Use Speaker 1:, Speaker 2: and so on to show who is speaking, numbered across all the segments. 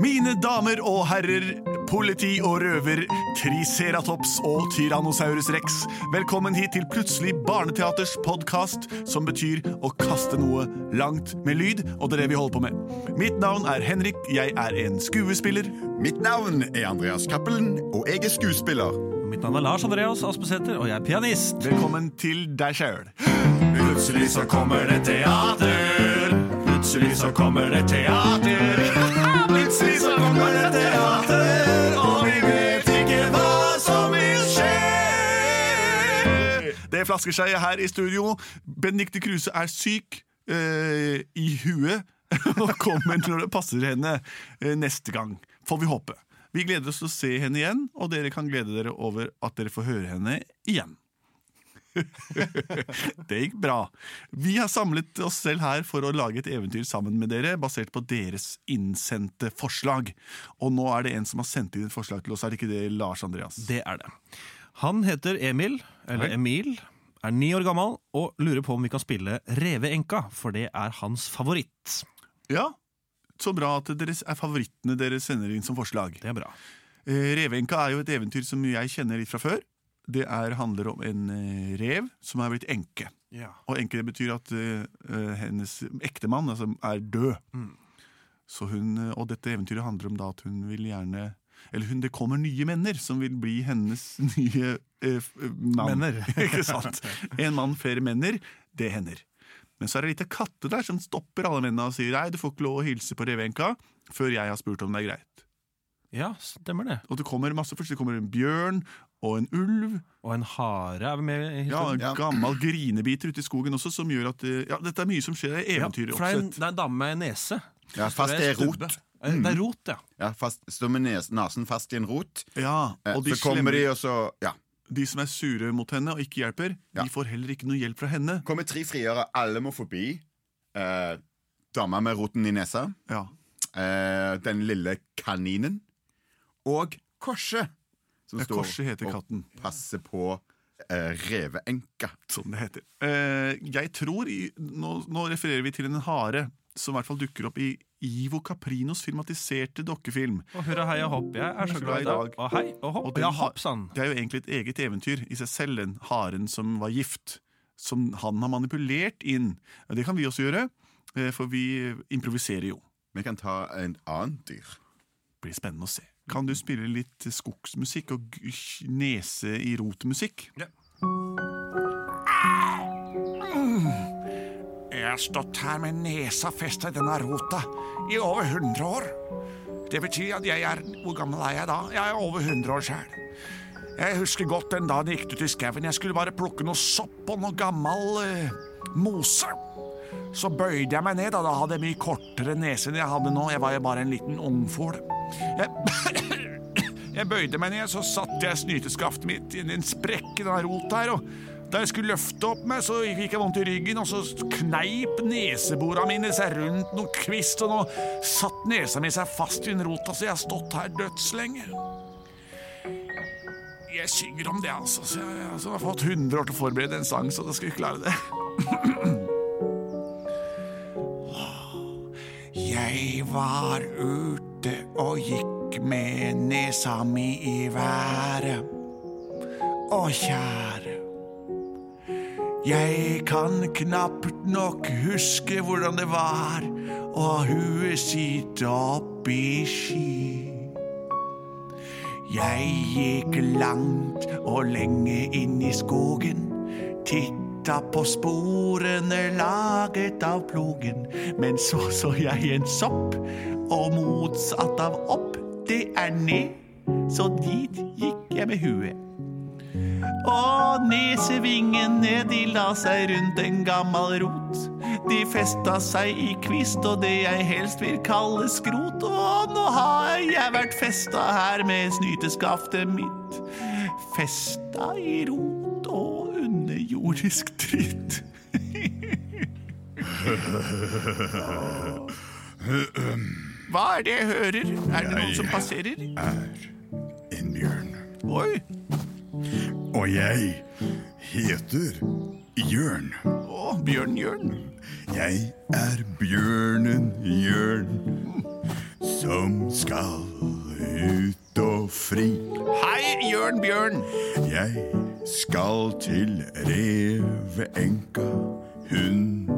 Speaker 1: Mine damer og herrer, politi og røver, Triceratops og Tyrannosaurus rex. Velkommen hit til Plutselig barneteaters podkast, som betyr å kaste noe langt med lyd, og det er det vi holder på med. Mitt navn er Henrik, jeg er en skuespiller.
Speaker 2: Mitt navn er Andreas Cappelen, og jeg er skuespiller.
Speaker 3: Mitt navn er Lars Andreas Aspesæter, og jeg er pianist.
Speaker 1: Velkommen til deg sjøl.
Speaker 4: Plutselig så kommer det teater. Plutselig så kommer det teater. Plutselig så kommer det teater, og vi vet ikke hva som vil skje.
Speaker 1: Det er flaskeskeiet her i studio. Benedicte Kruse er syk eh, i huet og kommer når det passer henne eh, neste gang, får vi håpe. Vi gleder oss til å se henne igjen, og dere kan glede dere over at dere får høre henne igjen. det gikk bra. Vi har samlet oss selv her for å lage et eventyr sammen med dere, basert på deres innsendte forslag. Og nå er det en som har sendt inn et forslag til oss, er det ikke det, Lars Andreas?
Speaker 3: Det er det. Han heter Emil, eller Emil, er ni år gammel og lurer på om vi kan spille Reveenka, for det er hans favoritt.
Speaker 1: Ja, så bra at det er favorittene dere sender inn som forslag.
Speaker 3: Det er bra.
Speaker 1: Eh, Revenka er jo et eventyr som jeg kjenner litt fra før. Det er, handler om en eh, rev som er blitt enke. Og enke det betyr at eh, eh, hennes ektemann altså, er død.
Speaker 3: Mm.
Speaker 1: Så hun, eh, og dette eventyret handler om da at hun vil gjerne eller hun, Det kommer nye menner som vil bli hennes nye eh, f- mann.
Speaker 3: Menner.
Speaker 1: Ikke sant? En mann, flere menner. Det hender. Men så er det en liten katte der som stopper alle mennene og sier nei, du får ikke lov å hilse på revenka før jeg har spurt om det er greit.
Speaker 3: Ja, stemmer det.
Speaker 1: Og det kommer masse først. Det kommer en bjørn og en ulv.
Speaker 3: Og en hare er med i
Speaker 1: Ja,
Speaker 3: historien.
Speaker 1: en
Speaker 2: Ja.
Speaker 1: gammel grinebiter ute i skogen også, som gjør at eh, Ja, dette er mye som skjer. Det er eventyr
Speaker 3: for det er en,
Speaker 1: oppsett.
Speaker 3: det er en dame med en nese.
Speaker 2: Ja, fast
Speaker 3: Det
Speaker 2: i
Speaker 3: er stubbe.
Speaker 2: rot.
Speaker 3: Eh, Det er rot, ja.
Speaker 2: Ja, fast, står med nes- nesen fast i en rot.
Speaker 1: Ja,
Speaker 2: Eh,
Speaker 1: og de,
Speaker 2: så kommer de,
Speaker 1: slemme,
Speaker 2: og så ja.
Speaker 1: de som er sure mot henne og ikke hjelper,
Speaker 2: Ja.
Speaker 1: de får heller ikke noe hjelp fra henne.
Speaker 2: kommer tre frigjøre. Alle må forbi. Eh, Dama med roten i nesa.
Speaker 1: Ja.
Speaker 2: Eh, den lille kaninen. Og korset. Som
Speaker 1: Ja, Eh, Korset heter
Speaker 2: og
Speaker 1: katten.
Speaker 2: passer på eh, reveenka.
Speaker 1: Som det heter. Eh, jeg tror i, nå, nå refererer vi til en hare som i hvert fall dukker opp i Ivo Caprinos filmatiserte dokkefilm.
Speaker 3: Og hurra, hei og hopp. Jeg er så glad i dag. Og hei og hopp.
Speaker 1: Og den
Speaker 3: ja,
Speaker 1: har-
Speaker 3: hopp, sa han.
Speaker 1: Det er jo egentlig et eget eventyr i seg selv, den haren som var gift. Som han har manipulert inn. Det kan vi også gjøre, eh, for vi improviserer jo.
Speaker 2: Vi kan ta en annet dyr.
Speaker 1: Det blir spennende å se. Kan du spille litt skogsmusikk og g- nese i rot-musikk?
Speaker 3: Ja.
Speaker 1: Jeg har stått her med nesa festa i denne rota i over 100 år. Det betyr at jeg er Hvor gammel er jeg da? Jeg er over 100 år sjøl. Jeg husker godt den dagen jeg gikk ut i skauen. Jeg skulle bare plukke noe sopp og noe gammel eh, mose. Så bøyde jeg meg ned, og da hadde jeg mye kortere nese enn jeg hadde nå. Jeg var jo bare en liten ungfol. Jeg, jeg bøyde meg ned, så satte jeg snyteskaftet mitt inn i en sprekk i denne rota her, og da jeg skulle løfte opp meg, så fikk jeg vondt i ryggen, og så kneip neseborene mine seg rundt noen kvist, og nå satt nesa mi seg fast i den rota, så jeg har stått her dødslenge. Jeg synger om det, altså, så jeg, altså, jeg har fått 100 år til å forberede en sang, så da skal vi klare det. Jeg var ute og gikk med nesa mi i været. Å, kjære. Jeg kan knapt nok huske hvordan det var å ha huet sitt oppi sky. Jeg gikk langt og lenge inn i skogen. Titta på sporene laget av plogen. Men så så jeg en sopp, og motsatt av opp, det er ned. Så dit gikk jeg med huet. Og nesevingene de la seg rundt en gammel rot. De festa seg i kvist og det jeg helst vil kalle skrot. Og nå har jeg vært festa her med snyteskaftet mitt. Festa i rot og underjordisk dritt. Hva er det jeg hører? Er det noen som passerer?
Speaker 5: en bjørn.
Speaker 1: Oi!
Speaker 5: Og jeg heter Jørn.
Speaker 1: Å, Bjørn Jørn.
Speaker 5: Jeg er bjørnen Jørn. Så som skal ut og fri.
Speaker 1: Hei, Jørn Bjørn.
Speaker 5: Jeg skal til reveenka. Hun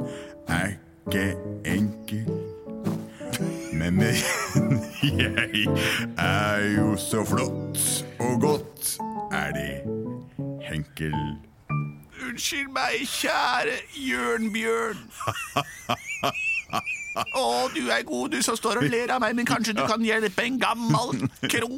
Speaker 5: er ikke enkel. Men, men jeg er jo så flott, og godt er det Henkel.
Speaker 1: Unnskyld meg, kjære Jørn Bjørn. Å, du er god, du som står og ler av meg, men kanskje du kan hjelpe en gammel krok?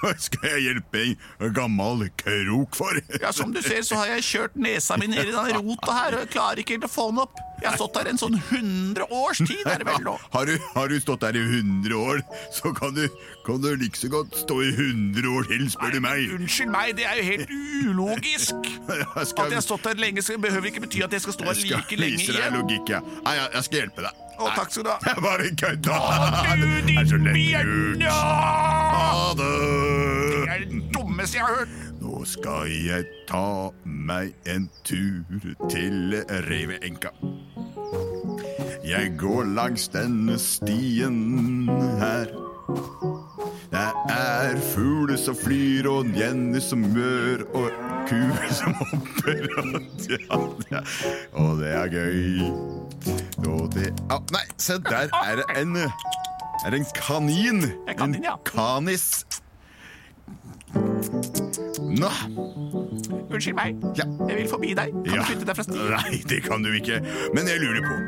Speaker 5: Hva skal jeg hjelpe en gammel krok for?
Speaker 1: Ja, Som du ser, så har jeg kjørt nesa mi ned i den rota her, og jeg klarer ikke helt å få den opp. Jeg har stått her en sånn 100 års tid, er det vel nå?
Speaker 5: Har du, har du stått der i 100 år, så kan du, kan du like så godt stå i 100 år til, spør du meg.
Speaker 1: Unnskyld meg, det er jo helt ulogisk.
Speaker 5: Jeg
Speaker 1: At jeg har stått her lenge, skal- behøver ikke bety at jeg skal stå her
Speaker 5: jeg
Speaker 1: like
Speaker 5: skal
Speaker 1: lenge
Speaker 5: vise deg
Speaker 1: igjen.
Speaker 5: logikk, ja. Nei, jeg, jeg skal hjelpe deg.
Speaker 1: Å, takk skal du ha.
Speaker 5: Nei, Jeg bare kødda.
Speaker 1: Du,
Speaker 5: Det er så
Speaker 1: din
Speaker 5: lett
Speaker 1: bjørn!
Speaker 5: ut.
Speaker 1: Ja!
Speaker 5: Ha det!
Speaker 1: Det er det dummeste jeg har hørt.
Speaker 5: Nå skal jeg ta meg en tur til Reveenka. Jeg går langs denne stien her. Det er fugler som flyr, og njenner som mør, og kuer som hopper. Og, ja, ja. og det er gøy. Og det Au, Nei, se der er det en, er det en kanin.
Speaker 1: En kanin, ja.
Speaker 5: En kanis. Nå.
Speaker 1: Unnskyld meg.
Speaker 5: Ja.
Speaker 1: Jeg vil forbi deg. Kan
Speaker 5: Ja.
Speaker 1: du flytte deg fra stien?
Speaker 5: Nei, det kan du ikke. Men jeg lurer på,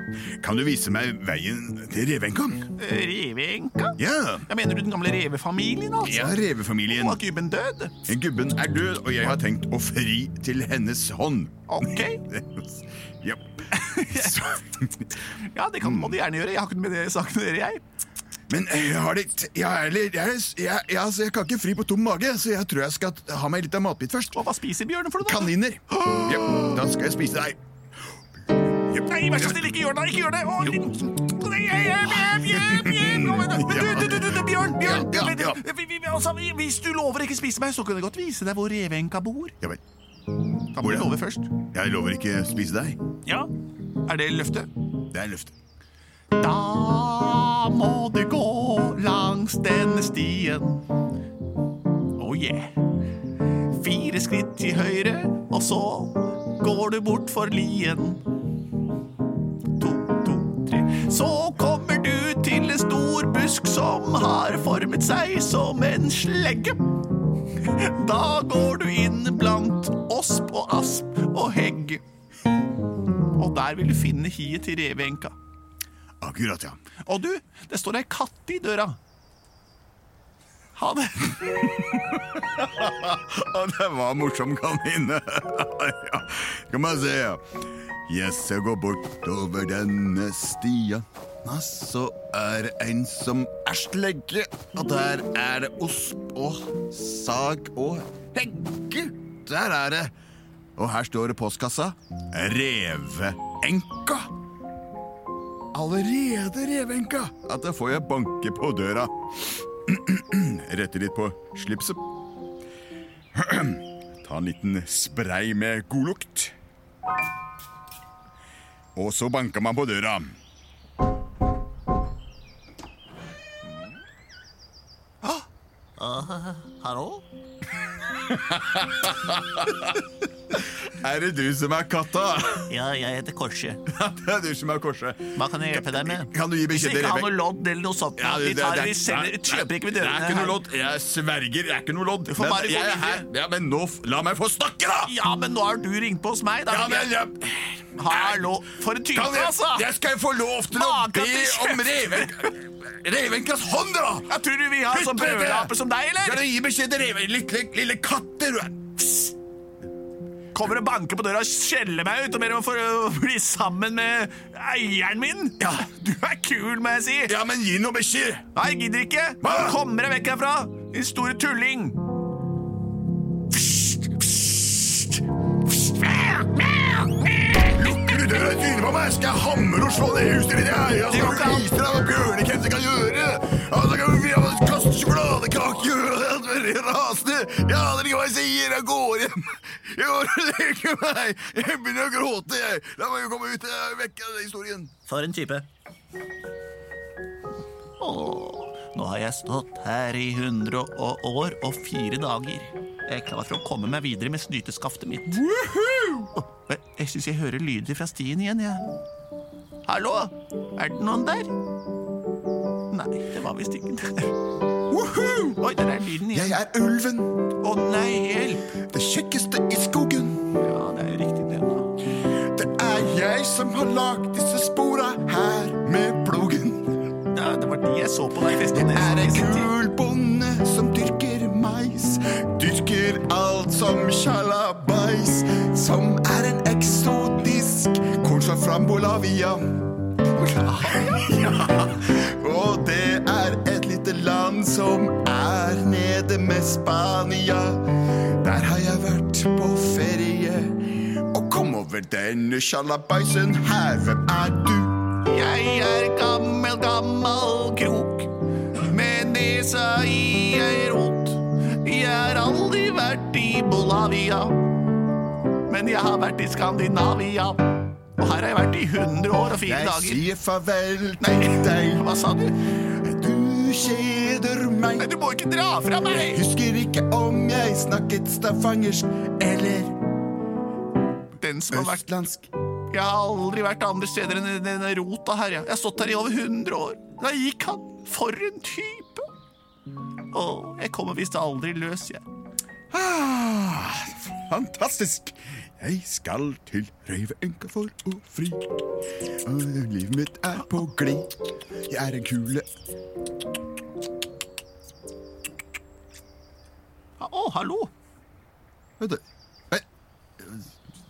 Speaker 5: kan du vise meg veien til Revenka?
Speaker 1: Eh, Reveenka?
Speaker 5: Ja.
Speaker 1: Ja, mener du den gamle revefamilien, altså?
Speaker 5: Ja, revefamilien.
Speaker 1: Og at gubben død?
Speaker 5: Gubben er død, og jeg har tenkt å fri til hennes hånd.
Speaker 1: Ok.
Speaker 5: Ja. Så-
Speaker 1: Ja, det kan, må du gjerne gjøre. Jeg har ikke noe med det saken å gjøre, jeg.
Speaker 5: Men eh, jeg har litt jeg, er litt- jeg, er- jeg, jeg, altså, jeg kan ikke fri på tom mage, så jeg tror jeg skal ha meg litt av matbit først.
Speaker 1: Og hva spiser bjørnen for noe? da?
Speaker 5: Kaniner. Ja, da skal jeg spise deg.
Speaker 1: Nei, vær så snill, ikke gjør det! Ikke gjør det! Å, din... Nei, jeg- jeg- jeg- jeg- jeg- Nå, men- men du, du, du, du, du, Bjørn, Bjørn!
Speaker 5: Ja,
Speaker 1: men-
Speaker 5: ja.
Speaker 1: vi- vi- vi- altså, vi- Hvis du lover å ikke spise meg, så kan jeg godt vise deg hvor reveenka bor.
Speaker 5: Ja vel.
Speaker 1: Kan du
Speaker 5: Hvordan?
Speaker 1: love først?
Speaker 5: Jeg lover ikke å spise deg.
Speaker 1: Ja. Er det løftet?
Speaker 5: Det er løftet.
Speaker 1: Da må du gå langs denne stien. Oh yeah. Fire skritt til høyre, og så går du bort for lien. To, to, tre. Så kommer du til en stor busk som har formet seg som en slegge. Da går du inn blant osp og asp og hegg. Og der vil du finne hiet til reveenka.
Speaker 5: Akkurat, ja.
Speaker 1: Og du, det står ei katt i døra. Ha det.
Speaker 5: Å, det var morsom kanine. ja, skal man se. Yes, jeg går bortover denne stia. Ja, så er det en som er slegge. Og der er det ost og sag og hegge. Der er det. Og her står det postkassa. Reveenka. Allerede reveenka. At da får jeg banke på døra. Retter litt på slipset. Ta en liten spray med godlukt. Og så banka man på døra.
Speaker 1: Hallo?
Speaker 5: Er det du som er katta?
Speaker 1: Ja, jeg heter Korse.
Speaker 5: Det er du som er korset.
Speaker 1: Hva kan jeg hjelpe deg med?
Speaker 5: Kan du gi
Speaker 1: Hvis
Speaker 5: beskjed
Speaker 1: jeg
Speaker 5: til
Speaker 1: ikke har
Speaker 5: Reven?
Speaker 1: noe lodd eller noe sånt,
Speaker 5: Ja,
Speaker 1: vi
Speaker 5: det-
Speaker 1: tar
Speaker 5: det-
Speaker 1: det, vi
Speaker 5: det-
Speaker 1: selger,
Speaker 5: det-
Speaker 1: kjøper ikke ved
Speaker 5: Det er
Speaker 1: dørene
Speaker 5: ikke noe
Speaker 1: her.
Speaker 5: lodd. Jeg sverger, det er ikke noe lodd.
Speaker 1: Du får bare
Speaker 5: jeg
Speaker 1: gå
Speaker 5: er her. Ja, men nå f- La meg få snakke, da!
Speaker 1: Ja, men nå har du ringt på hos meg, da.
Speaker 5: Ja, men ja.
Speaker 1: Hallo. For en type,
Speaker 5: Kan jeg,
Speaker 1: altså!
Speaker 5: jeg skal få lov til å
Speaker 1: Maken
Speaker 5: be
Speaker 1: til kjeft.
Speaker 5: om Revenka- Revenkas hånd, da!
Speaker 1: Jeg tror du vil ha en sånn
Speaker 5: Putt med det.
Speaker 1: brølape som deg,
Speaker 5: Skal
Speaker 1: eller?
Speaker 5: du gi beskjed til Reven? Lille, lille katte, du er
Speaker 1: Kommer og banker på døra og skjeller meg ut og ber om å få- å bli sammen med eieren min? Ja, Du er kul, må jeg si.
Speaker 5: Ja, men gi noe beskjed!
Speaker 1: Nei, jeg gidder ikke.
Speaker 5: Hva?
Speaker 1: Kommer deg vekk herfra, din store tulling.
Speaker 5: Lukker du døra i trynet på meg, skal jeg hamre og slå ned huset ditt! Jeg Jeg
Speaker 1: Det går ikke
Speaker 5: skal
Speaker 1: an.
Speaker 5: vise deg hva bjørnekrem kan gjøre! Og så kan vi vi kaste sjokoladekake og jeg blir rasende! Jeg aner ikke hva jeg sier! Jeg går hjem! Jeg orker ikke meg! Jeg begynner å gråte, jeg! La meg jo komme ut! Jeg er vekk av den historien!
Speaker 1: For en type. Nå har jeg stått her i 100 og år og fire dager. Jeg er klar for å komme meg videre med snyteskaftet mitt. Åh, Jeg, jeg syns jeg hører lyder fra stien igjen, jeg. Hallo? Er det noen der? Nei, det var visst ikke der. Oi, der er lyden igjen.
Speaker 5: Jeg er ulven,
Speaker 1: Å nei, hjelp!
Speaker 5: det kjekkeste i skogen.
Speaker 1: Ja, det er jo riktig, det, da.
Speaker 5: Det er jeg som har lagd disse spora her med plogen.
Speaker 1: Ja, det var de jeg så på deg i festen.
Speaker 5: Er en kul bonde som dyrker mais. Dyrker alt som sjalabais. Som er en eksotisk kornsvart fra Bolavia. ja. Og det er et lite land som er nede med Spania. Der har jeg vært på ferie. Og kom over denne sjalabaisen her. Hvem er du?
Speaker 1: Jeg er gammel, gammel krok Med nesa i ei rot Jeg har aldri vært i Bolavia Men jeg har vært i Skandinavia Og her har jeg vært i 100 år og fire
Speaker 5: Jeg
Speaker 1: dager
Speaker 5: sier farvel til
Speaker 1: Nei,
Speaker 5: deg.
Speaker 1: hva sa du?
Speaker 5: Du kjeder meg.
Speaker 1: Nei, du må ikke dra fra meg
Speaker 5: Husker ikke om jeg snakket stafangersk eller
Speaker 1: Den som har vært
Speaker 5: østlandsk.
Speaker 1: Jeg har aldri vært andre steder enn i denne rota her. Jeg Jeg har stått her i over 100 år. Der gikk han. For en type. Å, jeg kommer visst aldri løs, jeg.
Speaker 5: Ah, fantastisk! Jeg skal til Røyveønka for å fri. Og livet mitt er på glid. Jeg er en kule.
Speaker 1: Å, hallo.
Speaker 5: Vet du, jeg-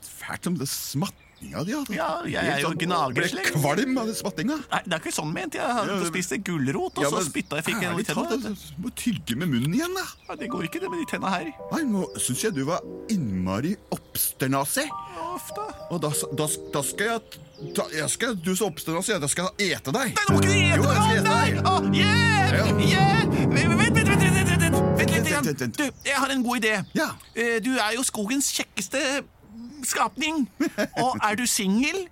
Speaker 5: Fælt som det smattinga di hadde.
Speaker 1: Ja, jeg er jo
Speaker 5: Helt sånn-
Speaker 1: gnagerslekt.
Speaker 5: Ble kvalm av det smattinga.
Speaker 1: Nei, det er ikke sånn ment. Jeg hadde
Speaker 5: Ja, det-
Speaker 1: spist en gulrot, og
Speaker 5: Ja,
Speaker 1: så
Speaker 5: men
Speaker 1: spytta jeg fikk en i
Speaker 5: ærlig talt,
Speaker 1: tennene.
Speaker 5: altså, Du må tygge med munnen igjen, da.
Speaker 1: Ja, det går ikke, det med de tenna her.
Speaker 5: Nei, nå syns jeg du var innmari oppsternasig.
Speaker 1: Ja, Uff, da.
Speaker 5: Og da, da, da skal jeg da, jeg skal, Du som oppstår, da skal jeg ete deg.
Speaker 1: Nei, nå må ikke de ete!
Speaker 5: Jo, jeg skal
Speaker 1: Å,
Speaker 5: ete
Speaker 1: nei!
Speaker 5: deg.
Speaker 1: Å,
Speaker 5: Ja.
Speaker 1: hjelp! Hjelp! Vent, vent, vent, vent, vent, vent, vent, vent litt.
Speaker 5: Vent, vent,
Speaker 1: Igjen.
Speaker 5: vent,
Speaker 1: Du,
Speaker 5: vent.
Speaker 1: jeg har en god idé.
Speaker 5: Ja.
Speaker 1: Eh, Du er jo skogens kjekkeste skapning. Og er du singel?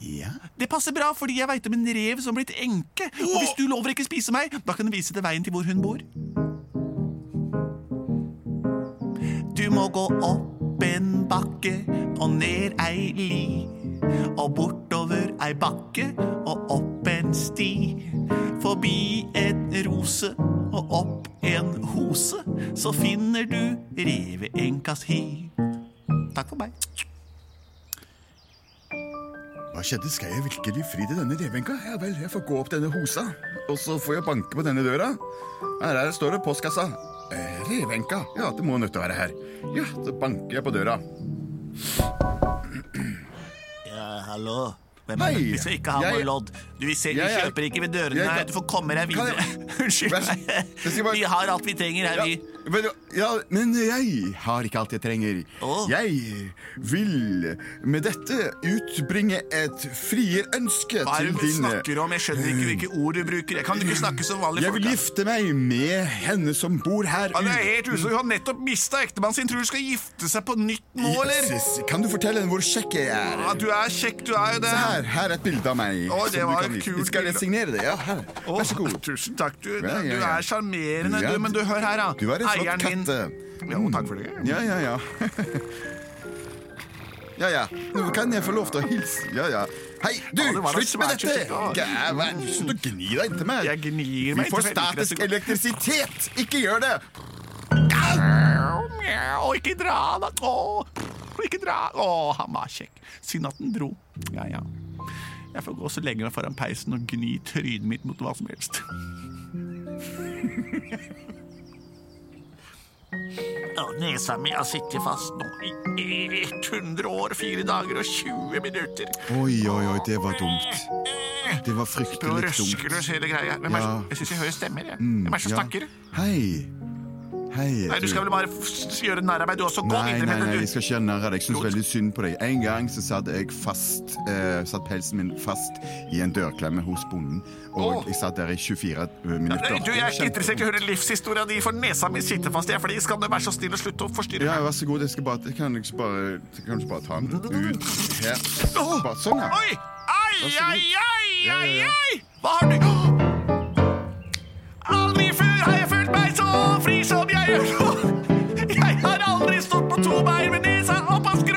Speaker 5: Ja.
Speaker 1: Det passer bra, fordi jeg veit om en rev som har blitt enke. Og hvis du lover å ikke spise meg, da kan du vise til veien til hvor hun bor. Du må gå opp en bakke og ned ei li. Og bortover ei bakke og opp en sti. Forbi en rose og opp en hose, så finner du reveenkas hi. Takk for meg.
Speaker 5: Hva skjedde? Skal jeg virkelig fri til denne revenka? Ja vel, jeg får gå opp denne hosa, og så får jeg banke på denne døra. Her er, står det postkassa. Eh, revenka. Ja, det må nødt til å være her. Ja, så banker jeg på døra.
Speaker 1: Ja, hallo. Hvem
Speaker 5: Hei,
Speaker 1: er det? Hvis jeg ikke har
Speaker 5: jeg-
Speaker 1: noe lodd. Du, vi, ser, vi
Speaker 5: Jeg er-
Speaker 1: kjøper ikke ved dørene
Speaker 5: jeg kan-
Speaker 1: her. Du får komme deg
Speaker 5: Kan jeg-
Speaker 1: videre. Unnskyld
Speaker 5: Vær så-
Speaker 1: meg.
Speaker 5: Jeg skal bare-
Speaker 1: Vi har alt vi trenger her,
Speaker 5: Ja,
Speaker 1: vi.
Speaker 5: men, ja, men jeg har ikke alt jeg trenger.
Speaker 1: Åh.
Speaker 5: Jeg vil med dette utbringe et frierønske
Speaker 1: Hva er
Speaker 5: til
Speaker 1: det du
Speaker 5: din
Speaker 1: snakker om? Jeg skjønner ikke hvilke ord du bruker. Jeg kan ikke snakke som vanlig
Speaker 5: Jeg vil
Speaker 1: folk.
Speaker 5: gifte meg med henne som bor her
Speaker 6: Han er
Speaker 5: ute.
Speaker 6: helt uså, han har nettopp mista ektemannen sin. Tror du skal gifte seg på nytt nå, eller?
Speaker 5: Jesus, kan du fortelle henne hvor kjekk jeg er?
Speaker 6: Ja, du er kjekk, du er jo det.
Speaker 5: Se her, her er et bilde av meg.
Speaker 6: Å, det
Speaker 5: som du
Speaker 6: var
Speaker 5: kan
Speaker 6: et
Speaker 5: vise.
Speaker 6: kult
Speaker 5: Skal jeg
Speaker 6: bilde.
Speaker 5: signere det? Ja, her.
Speaker 6: Å,
Speaker 5: Vær så god.
Speaker 6: Tusen takk, du.
Speaker 5: Ja, ja,
Speaker 6: Du
Speaker 5: ja.
Speaker 6: er sjarmerende,
Speaker 5: Ja,
Speaker 6: du. Men du, hør her, da.
Speaker 5: Du er en flott
Speaker 6: Eieren
Speaker 5: katte.
Speaker 6: din- Ja, og takk for det.
Speaker 5: Ja, ja, ja. Ja, ja. Nå kan jeg få lov til å hilse. Ja, ja. Hei, du!
Speaker 6: Ja, det var da
Speaker 5: slutt med
Speaker 6: svært kjekt,
Speaker 5: dette!
Speaker 6: ja.
Speaker 5: Gæren, slutt å gni deg inntil meg.
Speaker 6: Jeg gnir meg ikke,
Speaker 5: Vi får
Speaker 6: for helvete, så
Speaker 5: statisk
Speaker 6: godt.
Speaker 5: elektrisitet! Ikke gjør det!
Speaker 1: Mjau, mjau, ikke dra, da. Å, ikke dra. Å, han var kjekk. Synd at den dro. Ja, ja. Jeg får gå så lenge meg foran peisen og gni trynet mitt mot hva som helst. Å, Nesa mi har sittet fast nå i 100 år, 4 dager og 20 minutter.
Speaker 5: Oi, oi, oi, det var dumt. Det
Speaker 6: Prøv
Speaker 5: var
Speaker 6: å
Speaker 5: fryktelig
Speaker 6: røske
Speaker 5: dumt.
Speaker 6: løs hele greia. Hvem er,
Speaker 5: Ja. Mm,
Speaker 6: Jeg syns jeg hører stemmer. Jeg. Hvem er det som
Speaker 5: Ja.
Speaker 6: snakker?
Speaker 5: Hei. Hei.
Speaker 6: Nei, du skal vel bare f- gjøre narr av meg, du også. Gå
Speaker 5: Nei,
Speaker 6: videre
Speaker 5: nei,
Speaker 6: med
Speaker 5: nei,
Speaker 6: det,
Speaker 5: jeg
Speaker 6: du.
Speaker 5: skal ikke gjøre narr av deg. Jeg synes veldig synd på deg. En gang så satt jeg fast, eh, satt pelsen min fast i en dørklemme hos bonden. Og
Speaker 6: Åh.
Speaker 5: jeg satt der i 24
Speaker 6: Nei,
Speaker 5: minutter.
Speaker 6: du, Jeg er ikke
Speaker 5: Kjempe-
Speaker 6: interessert i å høre livshistoria di, for nesa mi sitter fast. Jeg, fordi skal du være så snill å slutte å forstyrre
Speaker 5: Ja,
Speaker 6: meg?
Speaker 5: vær så god. Jeg, skal bare, jeg kan liksom bare, jeg kan ikke bare ta den ut her. Bare sånn, ja.
Speaker 6: Oi! Ai,
Speaker 5: god.
Speaker 6: ai, ai,
Speaker 5: Ja,
Speaker 6: ai,
Speaker 5: ja, ja.
Speaker 6: ai! Hva har du Au!
Speaker 1: sånn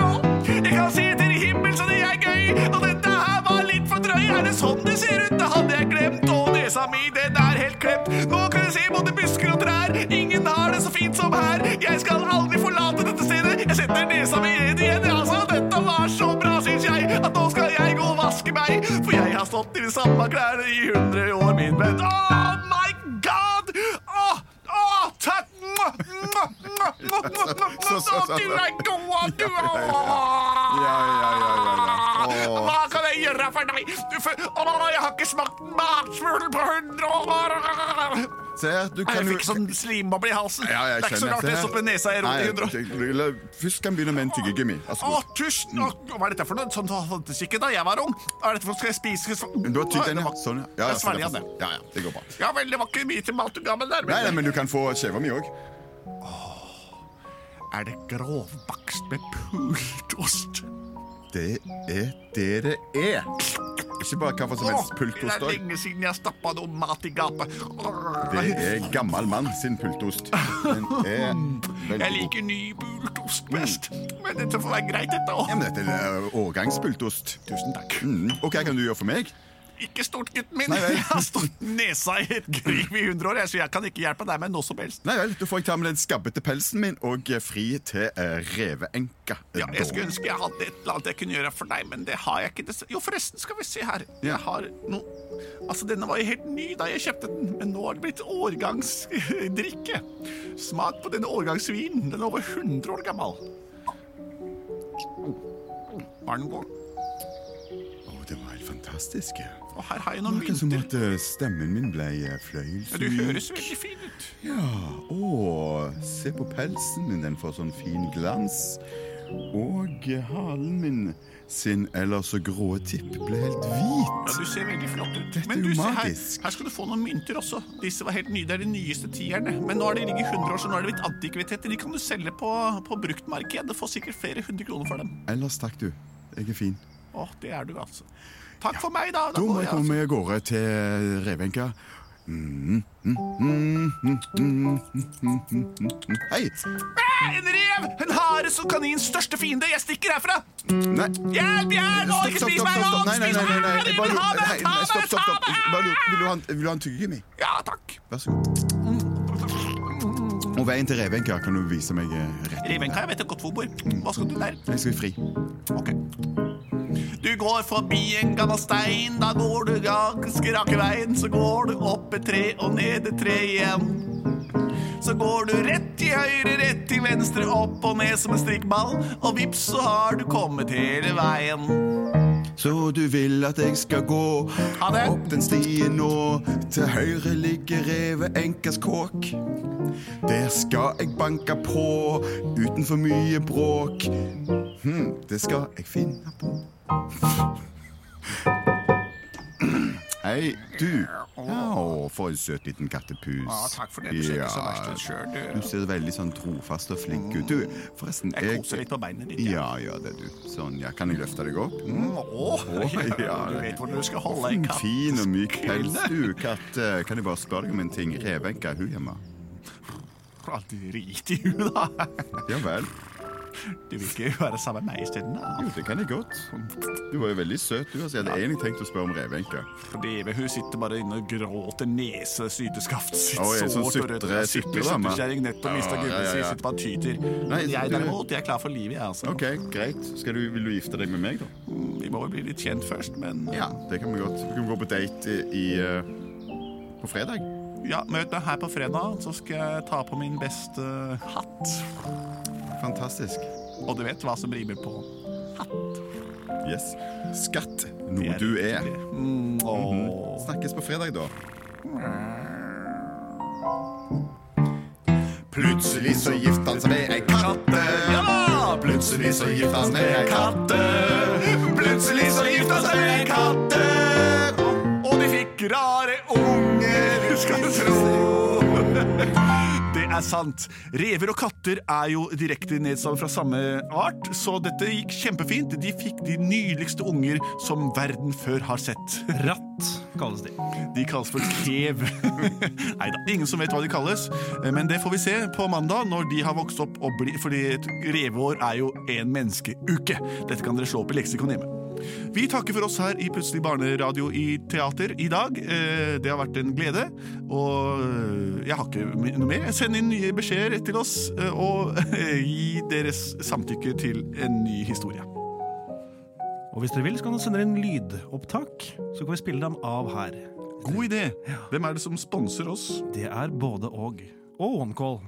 Speaker 1: er helt klemt. Nå kan jeg se både busker og trær. Ingen har det så fint som her. Jeg skal aldri forlate dette stedet. Jeg setter nesa ved en igjen. Altså, dette var så bra, syns jeg, at nå skal jeg gå og vaske meg. For jeg har stått i de samme klærne i 100 år, min venn. Oh my god! Åh, åh, takk! Mwah, mwah, mwah, mwah, mwah, mwah.
Speaker 5: Så, så, så, så.
Speaker 1: Don't you like to walk around?
Speaker 5: Ja, ja, ja, ja, ja. Åh.
Speaker 1: Hva kan jeg gjøre for deg? Du, for, å, jeg har ikke smakt matsmul på hundre år!
Speaker 5: Se her, du
Speaker 1: Jeg
Speaker 5: kan jo
Speaker 1: fikk sånn slimboble i halsen.
Speaker 5: Ja, jeg
Speaker 1: det er ikke så
Speaker 5: skjønner.
Speaker 1: rart
Speaker 5: Se
Speaker 1: jeg
Speaker 5: her.
Speaker 1: stopper nesa i rot i
Speaker 5: Nei,
Speaker 1: hundre år.
Speaker 5: jeg- la- Først kan vi begynne med en tyggegummi. Vær så
Speaker 1: Å,
Speaker 5: god. Mm.
Speaker 1: tusen takk! Hva er dette for noe? Sånn fantes ikke da jeg var ung. Hva er dette for Skal jeg spise
Speaker 5: Du har tygd den,
Speaker 1: Det
Speaker 5: ja.
Speaker 1: var-
Speaker 5: Sånn, ja. ja.
Speaker 1: Jeg
Speaker 5: sånn,
Speaker 1: svelger
Speaker 5: ja.
Speaker 1: den,
Speaker 5: Ja, ja, det går bra.
Speaker 1: Ja vel, det var ikke mye til mat og gammel der.
Speaker 5: Nei, nei,
Speaker 1: Men
Speaker 5: men du kan få skjeva mi òg.
Speaker 1: er det grovbakst med pult ost?
Speaker 5: Det er det det er. Ikke bare hva for som helst
Speaker 1: Å,
Speaker 5: pultost
Speaker 1: Det er
Speaker 5: òg.
Speaker 1: lenge siden jeg stappa noe mat i gapet.
Speaker 5: Det er gammel mann sin pultost. Den er veldig
Speaker 1: Jeg liker ny pultost best, men dette får være greit, dette
Speaker 5: Mm. Ja,
Speaker 1: òg.
Speaker 5: men dette er årgangspultost.
Speaker 1: Tusen takk.
Speaker 5: Mm. Og hva kan du gjøre for meg?
Speaker 1: Ikke stort, gutten min.
Speaker 5: Nei vel.
Speaker 1: Jeg har stått nesa i et krig i 100 år, jeg, så jeg kan ikke hjelpe deg med noe som helst.
Speaker 5: Nei vel, Da får jeg ta med den skabbete pelsen min og eh, fri til eh, reveenka.
Speaker 1: Ja, jeg skulle ønske jeg hadde et eller annet jeg kunne gjøre for deg, men det har jeg ikke. dess- Jo, forresten, skal vi se her.
Speaker 5: Ja.
Speaker 1: Jeg har noe Altså, denne var jo helt ny da jeg kjøpte den, men nå har det blitt årgangsdrikke. Smak på denne årgangsvinen. Den er over 100 år gammel. Var den god?
Speaker 5: Å, det var helt fantastisk. ja.
Speaker 1: Og her har jeg noen
Speaker 5: Noe som
Speaker 1: mynter.
Speaker 5: at eh, stemmen min ble eh, fløyelsmyk.
Speaker 1: Ja, Du høres veldig fin ut.
Speaker 5: Ja, å, se på pelsen min, den får sånn fin glans. Og eh, halen min sin ellers så grå tipp ble helt
Speaker 1: Ja,
Speaker 5: hvit.
Speaker 1: Du ser veldig flott ut.
Speaker 5: Dette
Speaker 1: Men
Speaker 5: er jo
Speaker 1: du, se her,
Speaker 5: magisk.
Speaker 1: her skal du få noen mynter også. Disse var helt nye. Det er de nyeste tierne. Men nå har de ligget i 100 år, så nå er det blitt antikviteter. De kan du selge på, på bruktmarkedet. Får sikkert flere hundre kroner for dem.
Speaker 5: Ellers takk, du. Jeg er fin.
Speaker 1: Å, det er du, altså. Takk for meg, da.
Speaker 5: Da må
Speaker 1: går
Speaker 5: jeg komme meg av gårde til eh, Revenka. Mm, mm, Hei!
Speaker 1: altså. En rev! En hare som kanins største fiende. Jeg stikker herfra.
Speaker 5: Nei
Speaker 1: Hjelp, hjelp! Å, ikke spis meg! Å,
Speaker 5: Nei, nei,
Speaker 1: spis
Speaker 5: nei, nei,
Speaker 1: meg!
Speaker 5: nei.
Speaker 1: Jeg
Speaker 5: Bare
Speaker 1: vil ha
Speaker 5: lur-
Speaker 1: meg!
Speaker 5: nei,
Speaker 1: Ta
Speaker 5: nei,
Speaker 1: meg!
Speaker 5: Stopp, stopp.
Speaker 1: Ta meg!
Speaker 5: Bare lur- Vil du ha en- vil du ha en tyggegummi?
Speaker 1: Ja, takk.
Speaker 5: Vær så god.
Speaker 1: Mm.
Speaker 5: Og veien til Revenka kan du vise meg eh, rett.
Speaker 1: Revenka, jeg vet jo godt hvor hun bor. Hva skal du der?
Speaker 5: Jeg skal fri.
Speaker 1: Ok. Du går forbi en gammel stein, da går du ganske rake veien. Så går du opp et tre og ned et tre igjen. Så går du rett til høyre, rett til venstre, opp og ned som en strikkball. Og vips, så har du kommet hele veien.
Speaker 5: Så du vil at jeg skal gå
Speaker 1: Ha det.
Speaker 5: opp den stien nå. Til høyre ligger reveenkas kåk. Der skal jeg banke på uten for mye bråk. Hm, det skal jeg finne på. Hei, du. Ja, for en søt liten kattepus.
Speaker 1: Ja, takk for det. Du ser ikke så verst ut sjøl,
Speaker 5: Du
Speaker 1: du.
Speaker 5: ser veldig sånn trofast og flink ut. Du, forresten
Speaker 1: Jeg koser litt på beina dine.
Speaker 5: Ja, ja, det er du. Sånn, ja. Kan jeg løfte deg opp?
Speaker 1: Å,
Speaker 5: ja,
Speaker 1: du vet hvor du skal holde en katt.
Speaker 5: Fin og myk pels, du, katt. Eh, Kan jeg bare spørre deg om en ting? Revenka, er hun hjemme?
Speaker 1: Drit i henne, da.
Speaker 5: Ja vel.
Speaker 1: Du vil ikke være sammen med meg isteden? da?
Speaker 5: Jo, det kan jeg godt. Du var jo veldig søt, du. Altså, jeg hadde egentlig tenkt å spørre om Revenka.
Speaker 1: Breve, hun sitter bare inne og gråter nese, syteskaftet sitt
Speaker 5: Oi,
Speaker 1: sårt
Speaker 5: sånn
Speaker 1: og
Speaker 5: sutre-
Speaker 1: rødt.
Speaker 5: sutredame.
Speaker 1: Sutrekjerring, nettopp mista
Speaker 5: Ja,
Speaker 1: gubben
Speaker 5: ja, ja.
Speaker 1: sin, sitter bare og tyter.
Speaker 5: Nei,
Speaker 1: Men jeg
Speaker 5: du-
Speaker 1: derimot, jeg er klar for livet, jeg, altså.
Speaker 5: OK, greit. Skal du, vil du gifte deg med meg, da?
Speaker 1: Mm, Vi må jo bli litt kjent først, men ja,
Speaker 5: Det kan vi godt. Vi kan gå på date i, i eh, på fredag.
Speaker 1: møt meg her på fredag, så skal jeg ta på min beste hatt.
Speaker 5: Fantastisk.
Speaker 1: Og du vet hva som rimer på
Speaker 5: Yes. Skatt, noe du er. Mhm.
Speaker 1: det. Mm, åh.
Speaker 5: Snakkes på fredag, da.
Speaker 7: Plutselig så gifter han seg med ei katte.
Speaker 1: Ja da!
Speaker 7: Plutselig så gifter han seg med ei katte. Plutselig så gifter han seg med ei katte.
Speaker 1: Og de fikk rare unger, skal du tro. Det er sant. Rever og katter er jo direkte nedsatt fra samme art, så dette gikk kjempefint. De fikk de nydeligste unger som verden før har sett.
Speaker 3: Ratt kalles de.
Speaker 1: De kalles for krev. Nei da, ingen som vet hva de kalles. Eh, Men det får vi se på mandag, når de har vokst opp og blir Fordi et reveår er jo en menneskeuke. Dette kan dere slå opp i leksikon hjemme. Vi takker for oss her i Plutselig barneradio i teater i dag. Eh, Det har vært en glede. Og eh, jeg har ikke my- noe mer. Send inn nye beskjeder til oss, eh, og gi deres samtykke til en ny historie.
Speaker 3: Og hvis dere vil, så kan dere sende inn lydopptak, så kan vi spille dem av her.
Speaker 1: God idé! Hvem er det som sponser oss?
Speaker 3: Det er både og. Og OneCall.